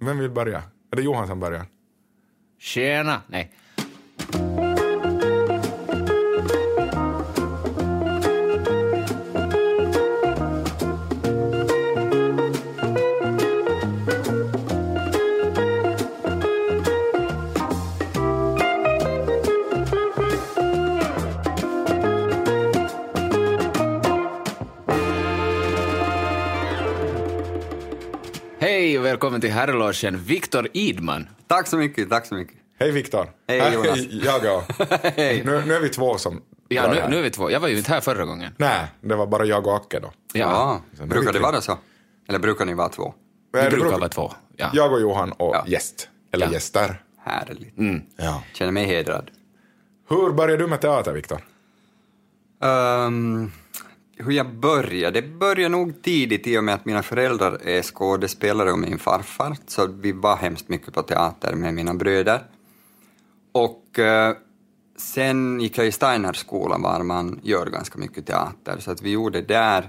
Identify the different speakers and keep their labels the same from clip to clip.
Speaker 1: Vem vill börja? Är det Johan som börjar?
Speaker 2: Tjena! Nej. Hej och välkommen till herrlogen, Viktor Idman.
Speaker 3: Tack så mycket, tack så mycket.
Speaker 1: Hej Viktor.
Speaker 3: Hej, Jonas.
Speaker 1: jag och. Nu, nu är vi två som
Speaker 2: Ja,
Speaker 1: drar
Speaker 2: nu,
Speaker 1: här.
Speaker 2: nu är vi två. Jag var ju inte här förra gången.
Speaker 1: Nej, det var bara jag och Acke då.
Speaker 2: Ja.
Speaker 1: Så nu
Speaker 3: Brukar
Speaker 1: vet
Speaker 3: det
Speaker 1: vi.
Speaker 3: vara så? Eller brukar ni vara två?
Speaker 1: Eh,
Speaker 2: Vi
Speaker 1: det
Speaker 2: brukar
Speaker 1: brukar-
Speaker 2: vara två. Ja.
Speaker 1: Jag och Johan och
Speaker 3: Ja.
Speaker 1: gäst. Eller
Speaker 2: Ja.
Speaker 1: gäster.
Speaker 3: Härligt.
Speaker 1: Ja.
Speaker 3: Känner mig hedrad.
Speaker 1: Hur började du med teater, Viktor?
Speaker 3: Ehm, hur jag började? Det började nog tidigt i och med att mina föräldrar är skådespelare och min farfar, så vi var hemskt mycket på teater med mina bröder. Och eh, sen gick jag i Steinerskolan var man gör ganska mycket teater, så att vi gjorde där.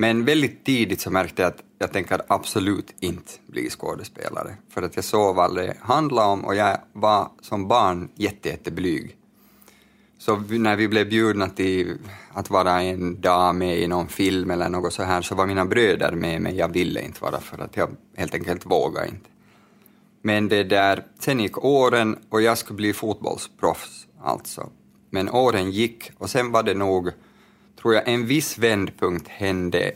Speaker 3: Men väldigt tidigt så märkte jag att jag tänker absolut inte bli skådespelare, för att jag såg vad det handlade om och jag var som barn jätte, jätteblyg. Så vi- när vi blev bjudna till att vara en dag med i någon film eller något så här så var mina bröder med men jag ville inte vara för att jag helt enkelt vågade inte. Men det där, sen gick åren och jag skulle bli fotbollsproffs alltså. Men åren gick och sen var det nog, tror jag, en viss vändpunkt hände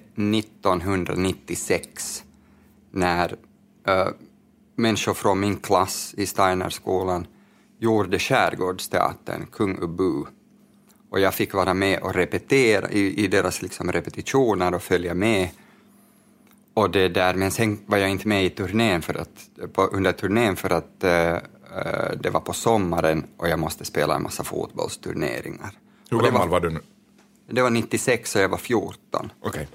Speaker 3: 1996 när eh, människor från min klass i Steinerskolan gjorde Skärgårdsteatern, Kung Ubu. Och jag fick vara med och repetera i, i deras liksom repetitioner och följa med. Och det där, men sen var jag inte med i turnén för att, på, under turnén för att eh, eh, det var på sommaren och jag måste spela en massa fotbollsturneringar.
Speaker 1: Hur
Speaker 3: Och det,
Speaker 1: gammal var
Speaker 3: var,
Speaker 1: du nu?
Speaker 3: det var 96 och jag var 14.
Speaker 1: Okej.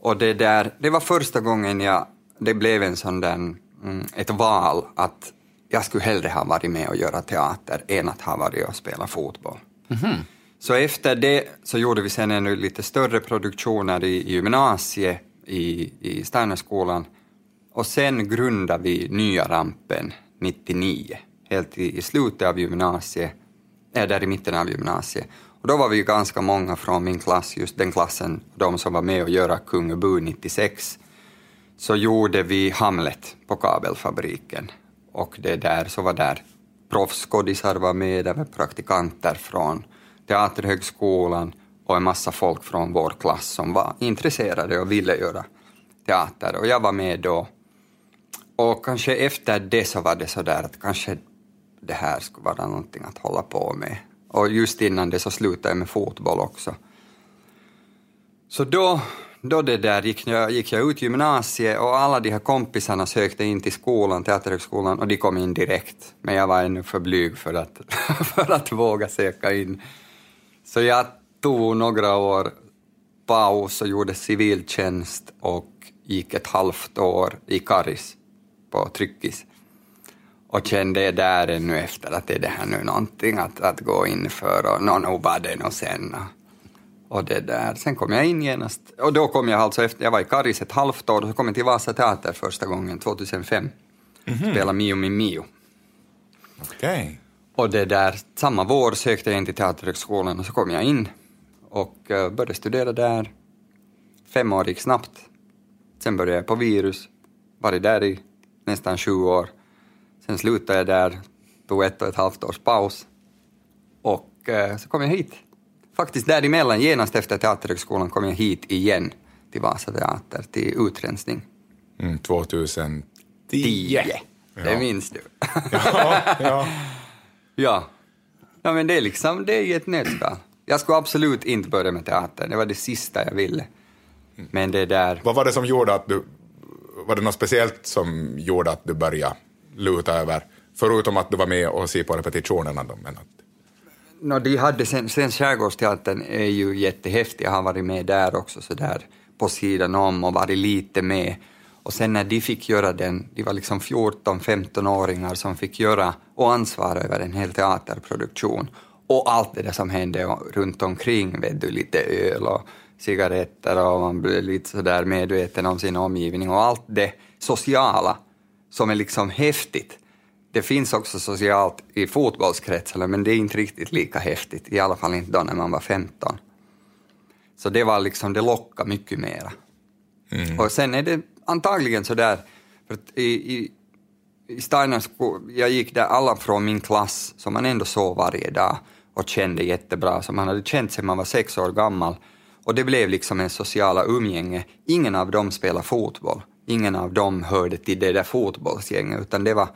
Speaker 3: Och det där, det var första gången jag, det blev en sån där, mm, ett val att jag skulle hellre ha varit med och göra teater än att ha varit och spela fotboll. Så efter det så gjorde vi sen ännu lite större produktioner i, i gymnasiet, i, i Steinerskolan. Och sen grundade vi Nya Rampen 99, helt i, i slutet av gymnasiet, äh, där i mitten av gymnasiet. Och då var vi ju ganska många från min klass, just den klassen, de som var med och göra Kungabu 96 så gjorde vi Hamlet på kabelfabriken. Och det där, så var där proffsskådisar var med, där var praktikanter från Teaterhögskolan och en massa folk från vår klass som var intresserade och ville göra teater. Och jag var med då. Och kanske efter det så var det så där att kanske det här skulle vara någonting att hålla på med. Och just innan det så slutade jag med fotboll också. Så då, då det där gick jag, gick jag ut gymnasiet och alla de här kompisarna sökte in till skolan, Teaterhögskolan, och de kom in direkt. Men jag var ännu för blyg för att, för att våga söka in. Så jag tog några år paus och gjorde civiltjänst och gick ett halvt år i Karis på Tryckis och kände där ännu efter att är det här nu någonting att, att gå in för och nå, nog var det nog sen. Och det där. Sen kom jag in genast. Och då kom jag alltså efter, jag var i Karis ett halvt år och så kom jag till Vasa Teater första gången 2005. Spela Mio min Mio.
Speaker 1: Okej.
Speaker 3: Och det där, samma vår sökte jag in till Teaterhögskolan och så kom jag in och eh, började studera där. Fem år gick snabbt. Sen började jag på Virus, varit där i nästan sju år. Sen slutade jag där, tog ett och ett halvt års paus och eh, så kom jag hit. Faktiskt däremellan, genast efter Teaterhögskolan, kom jag hit igen till Vasa Teater, till utrensning.
Speaker 1: Mm, 2010.
Speaker 3: Det minns du.
Speaker 1: Ja, ja.
Speaker 3: Ja. ja men det är liksom, det är ju ett nötskal. Jag skulle absolut inte börja med teater, det var det sista jag ville. Men det där,
Speaker 1: Vad var det som gjorde att du... Var det något speciellt som gjorde att du började luta över? Förutom att du var med och se på repetitionerna. Då, men att,
Speaker 3: no, de hade sen, sen Skärgårdsteatern är ju jättehäftig, jag har varit med där också sådär på sidan om och varit lite med. Och sen när de fick göra den, de var liksom 14-15-åringar som fick göra och ansvara över en hel teaterproduktion och allt det där som hände o- runt omkring, vet du, lite öl och cigaretter och man blir lite sådär medveten om sin omgivning och allt det sociala som är liksom häftigt. Det finns också socialt i fotbollskretsarna, men det är inte riktigt lika häftigt, i alla fall inte då när man var 15. Så det var liksom, det lockade mycket mera. Och sen är det antagligen så där, för att i, i, i Steiners, sko- jag gick där alla från min klass som man ändå såg varje dag och kände jättebra, som man hade känt sedan man var sex år gammal. Och det blev liksom en sociala umgänge. Ingen av dem spelade fotboll, ingen av dem hörde till det där fotbollsgänget, utan det var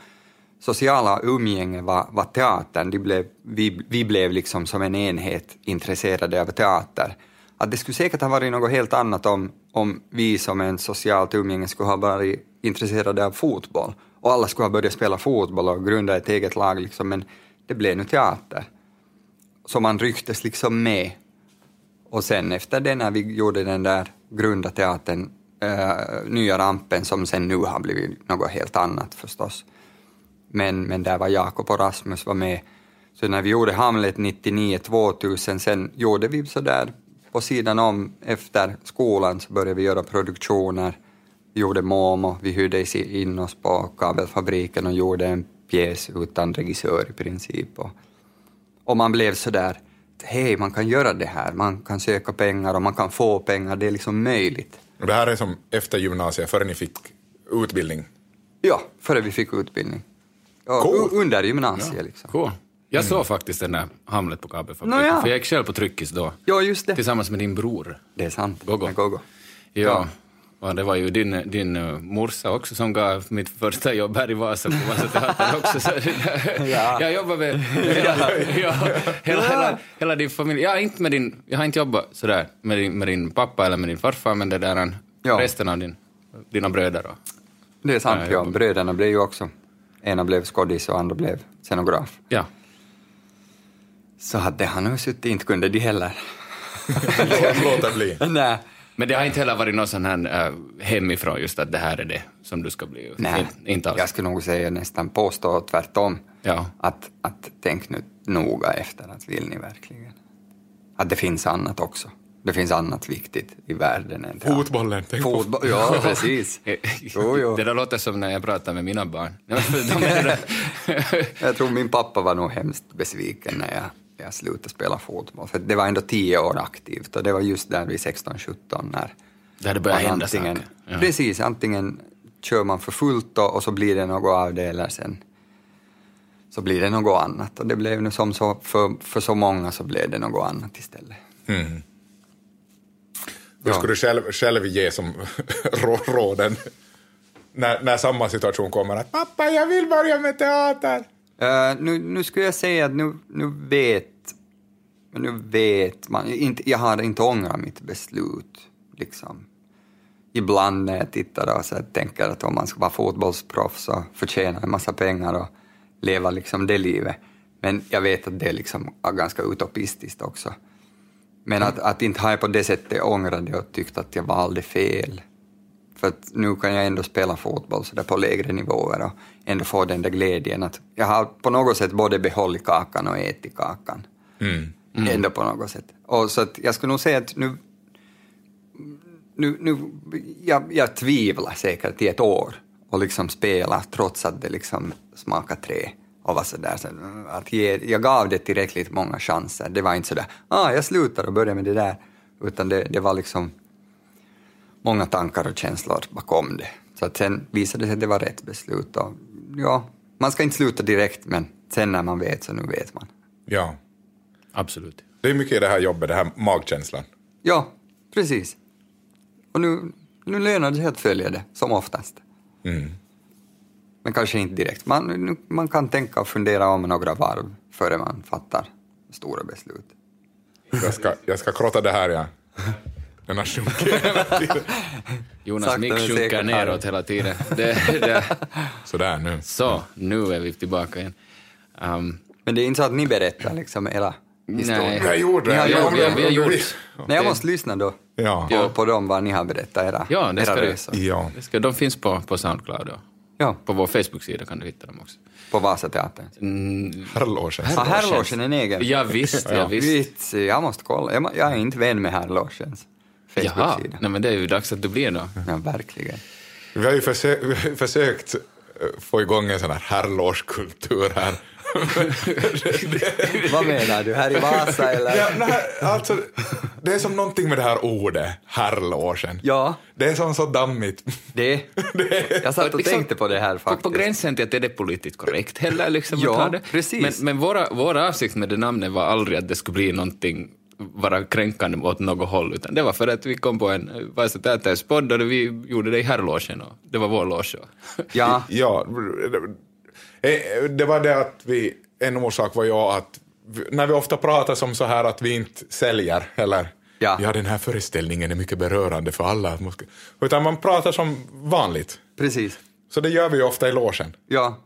Speaker 3: sociala umgänge var, var teatern. De blev, vi, vi blev liksom som en enhet intresserade av teater. Att det skulle säkert ha varit något helt annat om, om vi som en socialt umgänge skulle ha varit intresserade av fotboll och alla skulle ha börjat spela fotboll och grunda ett eget lag, liksom, men det blev nu teater. Så man rycktes liksom med. Och sen efter det, när vi gjorde den där grunda teatern, eh, nya rampen som sen nu har blivit något helt annat förstås, men, men där var Jakob och Rasmus var med. Så när vi gjorde Hamlet 99-2000, sen gjorde vi sådär på sidan om efter skolan så började vi göra produktioner. Vi gjorde Momo, vi hyrde in oss på kabelfabriken och gjorde en pjäs utan regissör i princip. Och, och man blev sådär, hej, man kan göra det här, man kan söka pengar och man kan få pengar, det är liksom möjligt.
Speaker 1: Och det här är som efter gymnasiet, före ni fick utbildning.
Speaker 3: Ja, före vi fick utbildning. Ja,
Speaker 1: Coolt.
Speaker 3: u- Under gymnasiet liksom.
Speaker 2: Cool. Jag såg faktiskt den där Hamlet på kabelfabriken,
Speaker 3: Nåja.
Speaker 2: för jag gick själv på tryckis då.
Speaker 3: Ja, just det.
Speaker 2: Tillsammans med din bror.
Speaker 3: Det är sant.
Speaker 2: Gogo.
Speaker 3: Med Gogo.
Speaker 2: Ja. Och det var ju din, din eh, morsa också som gav mitt första jobb här i Vasa på Vasateatern också. Så
Speaker 3: Ja.
Speaker 2: Jag jobbar med hela, ja, hela, hela, hela din familj. Jag, inte med din, jag har inte jobbat sådär med din, med din pappa eller med din farfar, men det där är en-
Speaker 3: Ja.
Speaker 2: resten av din, dina bröder. Och,
Speaker 3: Det är sant,
Speaker 2: Nej,
Speaker 3: ja. Bröderna blev ju också... Ena blev skådis och andra blev scenograf.
Speaker 2: ja.
Speaker 3: Så hade han nog suttit, inte kunde de heller.
Speaker 1: Låt, låt det bli.
Speaker 3: Nej.
Speaker 2: Men det har inte heller varit någon sån här äh, hemifrån, just att det här är det som du ska bli.
Speaker 3: Nej.
Speaker 2: In- Inte alls.
Speaker 3: Jag skulle nog säga nästan påstå tvärtom.
Speaker 2: Ja.
Speaker 3: Att, att tänk nu noga efter, att vill ni verkligen? Att det finns annat också. Det finns annat viktigt i världen än teater.
Speaker 1: Fotbollen, tänk på-
Speaker 3: Fotboll, ja precis. Jo, jo.
Speaker 2: Det där låter som när jag pratar med mina barn. Nej, men de är-
Speaker 3: Jag tror min pappa var nog hemskt besviken när jag, jag slutade spela fotboll. För det var ändå tio år aktivt och det var just där vid 16-17 när
Speaker 2: Där det börjar
Speaker 3: man
Speaker 2: hända
Speaker 3: antingen,
Speaker 2: saker. Ja.
Speaker 3: Precis, antingen kör man för fullt då, och så blir det något av det eller sen så blir det något annat. Och det blev nu som så, för, för så många så blev det något annat istället.
Speaker 2: Mm.
Speaker 1: Hur skulle du själv, själv ge som rå- råden när, när samma situation kommer? Att pappa, jag vill börja med teater.
Speaker 3: Eh, nu, nu skulle jag säga att nu, nu vet men nu vet man. Inte, jag har inte ångrat mitt beslut. Liksom. Ibland när jag tittar och så här tänker att om man ska vara fotbollsproffs och förtjäna en massa pengar och leva liksom det livet. Men jag vet att det är liksom ganska utopistiskt också. Men att, att inte har jag på det sättet ångrat det och tyckt att jag valde fel. För att nu kan jag ändå spela fotboll så där på lägre nivåer och ändå få den där glädjen att jag har på något sätt både behållit kakan och ätit kakan. Ändå på något sätt. Och så att jag skulle nog säga att nu... nu, nu jag, jag tvivlar säkert i ett år och liksom spela trots att det liksom smakar tre och var sådär. Så att ge, jag gav det tillräckligt många chanser. Det var inte sådär, ah, jag slutar och börjar med det där. Utan det, det var liksom många tankar och känslor bakom det. Så att sen visade det sig att det var rätt beslut. Och, ja, man ska inte sluta direkt, men sen när man vet så nu vet man.
Speaker 1: Ja.
Speaker 2: Absolut.
Speaker 1: Det är mycket i det här jobbet, det här magkänslan.
Speaker 3: Ja, precis. Och nu, nu lönar det sig att följa det, som oftast. Men kanske inte direkt. Man, nu, man kan tänka och fundera om några varv före man fattar stora beslut.
Speaker 1: Jag ska, jag ska krotta det här, ja. Den har sjunkit.
Speaker 2: Jonas
Speaker 3: Sakta
Speaker 2: mick
Speaker 3: men
Speaker 2: sjunker
Speaker 3: säkert,
Speaker 2: neråt
Speaker 3: Harry.
Speaker 2: hela tiden. Det, det.
Speaker 1: Sådär nu.
Speaker 2: Så, nu är vi tillbaka igen. Um,
Speaker 3: Men det är inte så att ni berättar liksom hela historien.
Speaker 1: Jag gjorde det.
Speaker 3: Ja,
Speaker 1: Jag
Speaker 3: ja,
Speaker 1: gjorde
Speaker 3: vi har-
Speaker 1: det.
Speaker 2: vi har gjort.
Speaker 3: Men jag måste lyssna då
Speaker 1: Ja.
Speaker 3: på, på dem, vad ni har berättat, era,
Speaker 2: ja, det
Speaker 3: era
Speaker 2: ska du.
Speaker 3: resor.
Speaker 1: Ja.
Speaker 2: Det ska, de finns på, på Soundcloud och
Speaker 3: Ja,
Speaker 2: på vår Facebook-sida kan du hitta dem också.
Speaker 3: på Vasateatern.
Speaker 1: Herrlogen.
Speaker 3: Ah, herrlogen är en egen?
Speaker 2: Ja, visst, ja, visst.
Speaker 3: Vits, jag måste kolla. Jag, jag är inte vän med herrlogens
Speaker 2: Jaha,
Speaker 3: Facebook-sida.
Speaker 2: nej, men det är ju dags att du blir då.
Speaker 3: Ja, verkligen.
Speaker 1: Vi har ju försö- försökt eh, få igång en sån här herrlårskultur här.
Speaker 3: Vad menar du? Här i Vasa eller?
Speaker 1: Ja, nej, alltså, det är som någonting med det här ordet, herrlogen.
Speaker 3: Ja.
Speaker 1: Det är som så dammigt.
Speaker 3: Det. Jag satt och tänkte på det här
Speaker 2: Liksom, på,
Speaker 3: faktiskt.
Speaker 2: på gränsen till att är det politiskt korrekt heller. Liksom, att
Speaker 3: Ja,
Speaker 2: ha det.
Speaker 3: precis.
Speaker 2: Men, men våra, våra avsikt med det namnet var aldrig att det skulle bli någonting vara kränkande åt något håll, utan det var för att vi kom på en eh, Vasa Tätäs podd och vi gjorde det i herrlogen och det var vår loge. och-
Speaker 3: Ja,
Speaker 1: Ja, det- eh, det var det att vi, en orsak var ju att vi- när vi ofta pratar som så här att vi inte säljer, eller
Speaker 3: Ja.
Speaker 1: den här föreställningen är mycket berörande för alla. Utan man pratar som vanligt.
Speaker 3: precis.
Speaker 1: Så det gör vi ju ofta i logen.
Speaker 3: Ja.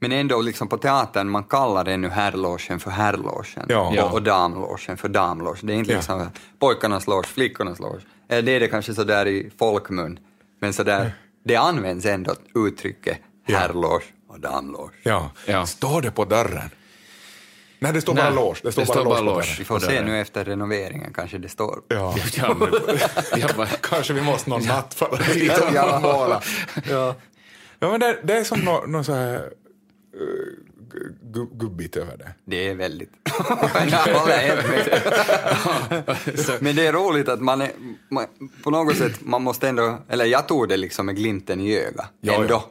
Speaker 3: Men ändå liksom på teatern, man kallar det nu herrlogen för herrlogen
Speaker 1: Ja. Ja.
Speaker 3: och, och damlogen för damloge. Det är inte
Speaker 1: Ja.
Speaker 3: liksom pojkarnas loge, flickornas loge. Eller det är det kanske sådär i folkmun, men sådär, det används ändå uttrycket
Speaker 1: Ja.
Speaker 3: herrloge och damloge.
Speaker 1: Ja.
Speaker 2: Ja.
Speaker 1: Står det på dörren? Nej, det står bara
Speaker 2: Nej,
Speaker 1: loge. Det står bara, loge på dörren.
Speaker 3: Vi får
Speaker 2: Och där
Speaker 3: se
Speaker 2: är-
Speaker 3: nu efter renoveringen, kanske det står.
Speaker 1: Ja.
Speaker 2: Ja, men, vi har bara,
Speaker 1: Kanske vi måste någon natt fara dit och
Speaker 3: Ja.
Speaker 1: måla. Ja. ja, men det, det är som något no så här eh, gu- gu- gubbigt över det.
Speaker 3: Det är väldigt... Jag håller helt med. Men det är roligt att man, är, man på något sätt, man måste ändå, eller jag tog det liksom med glimten i ögat
Speaker 1: Ja, ja.
Speaker 3: ändå.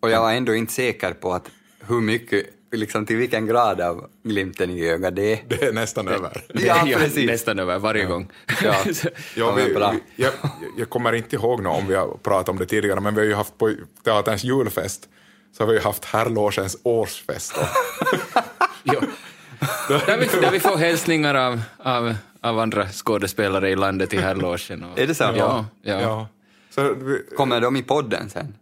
Speaker 3: Och jag var ändå inte säker på att hur mycket, liksom till vilken grad av glimten i ögat det är.
Speaker 1: Det är nästan över.
Speaker 3: Ja,
Speaker 2: det är
Speaker 3: precis.
Speaker 2: nästan över varje gång.
Speaker 3: Ja.
Speaker 1: Ja,
Speaker 3: Ja,
Speaker 1: vi,
Speaker 3: men bra.
Speaker 1: vi, jag, jag kommer inte ihåg något om vi har pratat om det tidigare, men vi har ju haft på teaterns julfest så har vi ju haft herrlogens årsfest. då.
Speaker 2: Ja. Där, vi, där vi får hälsningar av, av, av andra skådespelare i landet i herrlogen. och-
Speaker 3: Är det så?
Speaker 2: Ja. ja.
Speaker 1: Ja. Så vi,
Speaker 3: Kommer de i podden sen?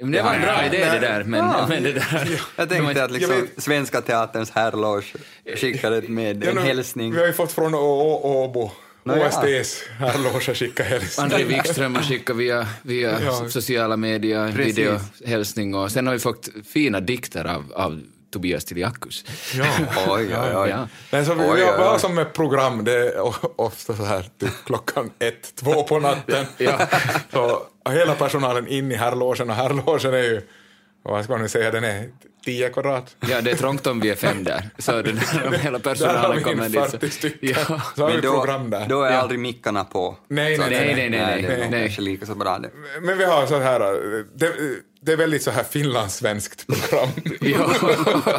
Speaker 2: Men det var en bra idé det där, men, men det där...
Speaker 3: Jag
Speaker 2: de har-
Speaker 3: tänkte att liksom
Speaker 1: jag vet-
Speaker 3: Svenska Teaterns herrloge skickar ett med,
Speaker 1: Ja,
Speaker 3: en
Speaker 1: nu-
Speaker 3: hälsning.
Speaker 1: Vi har ju fått från Å- Å- Åbo.
Speaker 3: Nå, ja.
Speaker 1: OSTs herrloge skickar hälsning.
Speaker 2: André Wikström har skickat via, via
Speaker 1: Ja.
Speaker 2: sociala medier,
Speaker 3: Precis.
Speaker 2: videohälsning och sen har vi fått fina dikter av, av Tobias Tiliakus.
Speaker 3: Oj, oj, oj.
Speaker 2: Ja.
Speaker 1: Men så vi
Speaker 3: Oj, oj,
Speaker 1: jobbar
Speaker 3: oj.
Speaker 1: som med program, det är o- ofta så här typ klockan ett, två på natten.
Speaker 2: Ja.
Speaker 1: Så hela personalen in i herrlogen och herrlogen är ju, vad ska man nu säga, den är 10 kvadrat.
Speaker 2: Ja, det är trångt om vi är fem där. Så det där, om hela
Speaker 1: Där har
Speaker 2: personalen
Speaker 1: vi
Speaker 2: kommer
Speaker 1: in
Speaker 2: dit.
Speaker 1: 40
Speaker 2: så-
Speaker 1: stycken.
Speaker 2: Ja.
Speaker 1: Så har vi
Speaker 3: Men då,
Speaker 1: program där.
Speaker 3: då är
Speaker 2: Ja.
Speaker 3: aldrig mickarna på.
Speaker 1: Nej,
Speaker 3: Så
Speaker 1: nej,
Speaker 3: att-
Speaker 1: nej,
Speaker 2: nej, nej,
Speaker 3: nej. Det är
Speaker 2: nej,
Speaker 3: nog
Speaker 2: nej.
Speaker 3: kanske lika så bra det.
Speaker 1: Men vi har så här, det, det är väldigt så här finlandssvenskt program.
Speaker 2: Ja.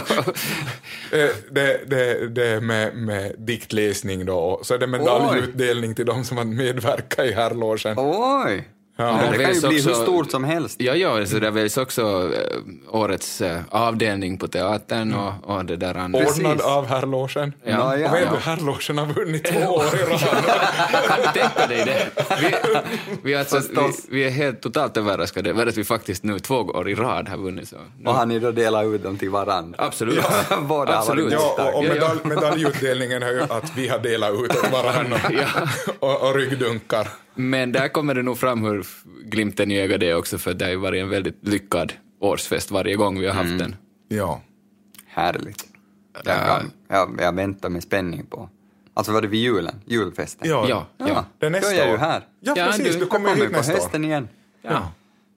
Speaker 1: Eh, det, det, det är med, med diktläsning då och så är det medaljutdelning till de som har medverkat i herrlogen.
Speaker 3: Oj!
Speaker 1: Ja.
Speaker 3: Men det kan ju
Speaker 2: Väljs
Speaker 3: bli hur
Speaker 2: också-
Speaker 3: stort som helst.
Speaker 2: Ja, ja, så där väljs också eh, årets eh, avdelning på teatern och, och det där andra.
Speaker 3: Precis.
Speaker 1: Ordnad av herrlogen.
Speaker 3: Ja,
Speaker 1: Och vet
Speaker 3: ja.
Speaker 1: du, herrlogen har vunnit två år i rad.
Speaker 2: Kan du tänka dig det? Vi, vi, är alltså, vi,
Speaker 3: Förstås.
Speaker 2: vi är helt totalt överraskade över att vi faktiskt nu två år i rad har vunnit. Så.
Speaker 3: Och har ni då delat ut dem till varandra?
Speaker 2: Absolut.
Speaker 3: Ja, båda har
Speaker 2: Absolut.
Speaker 3: varit
Speaker 1: Ja,
Speaker 3: starka.
Speaker 1: och, och
Speaker 2: Ja, ja.
Speaker 1: medalj, medaljutdelningen är ju att vi har delat ut åt varandra. och, och ryggdunkar.
Speaker 2: Men där kommer det nog fram hur f- glimten i ögat det är också, för det har ju varit en väldigt lyckad årsfest varje gång vi har haft den.
Speaker 1: Ja.
Speaker 3: Härligt. Jag, jag, jag väntar med spänning på. Alltså var det vid julen? Julfesten?
Speaker 1: Ja.
Speaker 2: Ja,
Speaker 3: Ja.
Speaker 2: ja.
Speaker 1: Det är nästa
Speaker 3: jag är
Speaker 1: år.
Speaker 3: ju här.
Speaker 1: Ja,
Speaker 2: Ja,
Speaker 1: precis.
Speaker 2: du-
Speaker 1: Du, kommer ju
Speaker 3: ju
Speaker 1: hit
Speaker 3: på
Speaker 1: nästa år.
Speaker 3: hösten igen.
Speaker 2: ja.